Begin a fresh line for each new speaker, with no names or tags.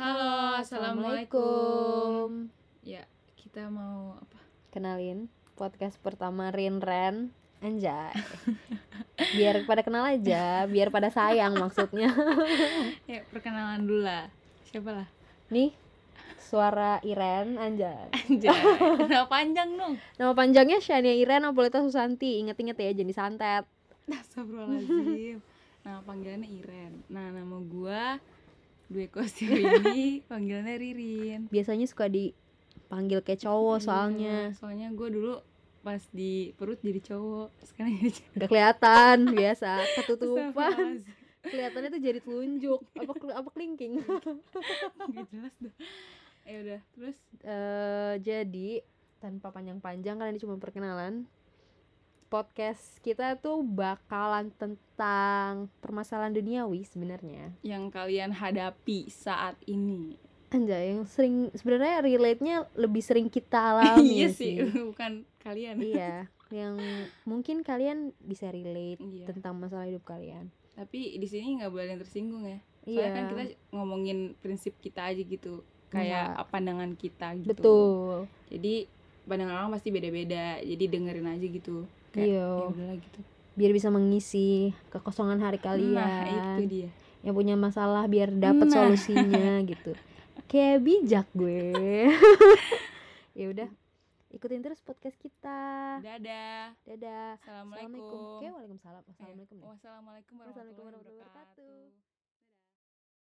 Halo, assalamualaikum. Ya, kita mau apa?
Kenalin podcast pertama Rin Ren Anjay Biar pada kenal aja Biar pada sayang maksudnya
Ya, perkenalan dulu lah. Siapa lah?
Nih Suara Iren Anjay
Anjay, kenapa panjang dong?
Nama panjangnya Shania Iren Napolita Susanti Ingat-ingat ya jadi santet
Astagfirullahaladzim. Nama panggilannya Iren. Nah, nama gua Dwi ini panggilannya Ririn.
Biasanya suka dipanggil kayak cowok soalnya
Iya, soalnya gua dulu pas di perut jadi cowok, sekarang jadi cewek.
Gak kelihatan biasa Ketutupan
Astagfirullahaladzim.
Kelihatannya tuh jadi telunjuk Apa, kelu- apa kelingking
Nggak jelas dah. Ya udah, terus
eh jadi tanpa panjang-panjang karena ini cuma perkenalan podcast kita tuh bakalan tentang permasalahan duniawi sebenarnya
yang kalian hadapi saat ini
anjay yang sering sebenarnya relate nya lebih sering kita alami
iya sih, bukan kalian.
ya iya yang mungkin kalian bisa relate
Iya.
tentang masalah hidup kalian
Tapi di sini nggak boleh ada yang tersinggung ya. Soalnya
iya
kan kita ngomongin prinsip kita aja gitu, kayak pandangan kita gitu.
Iya. betul
Jadi pandangan orang pasti beda-beda. Jadi dengerin aja gitu. Kayak,
iya
Ya udahlah gitu.
biar bisa mengisi kekosongan hari kalian
Nah, itu dia.
yang punya masalah biar dapat
Nah.
solusinya gitu kayak bijak gue ya udah ikutin terus podcast kita
Dadah.
dadah
Assalamualaikum. Eh,
kayak waalaikumsalam assalamualaikum ya
Wassalamualaikum warahmatullahi
Wassalamualaikum warahmatullahi
wabarakatuh.
wabarakatuh.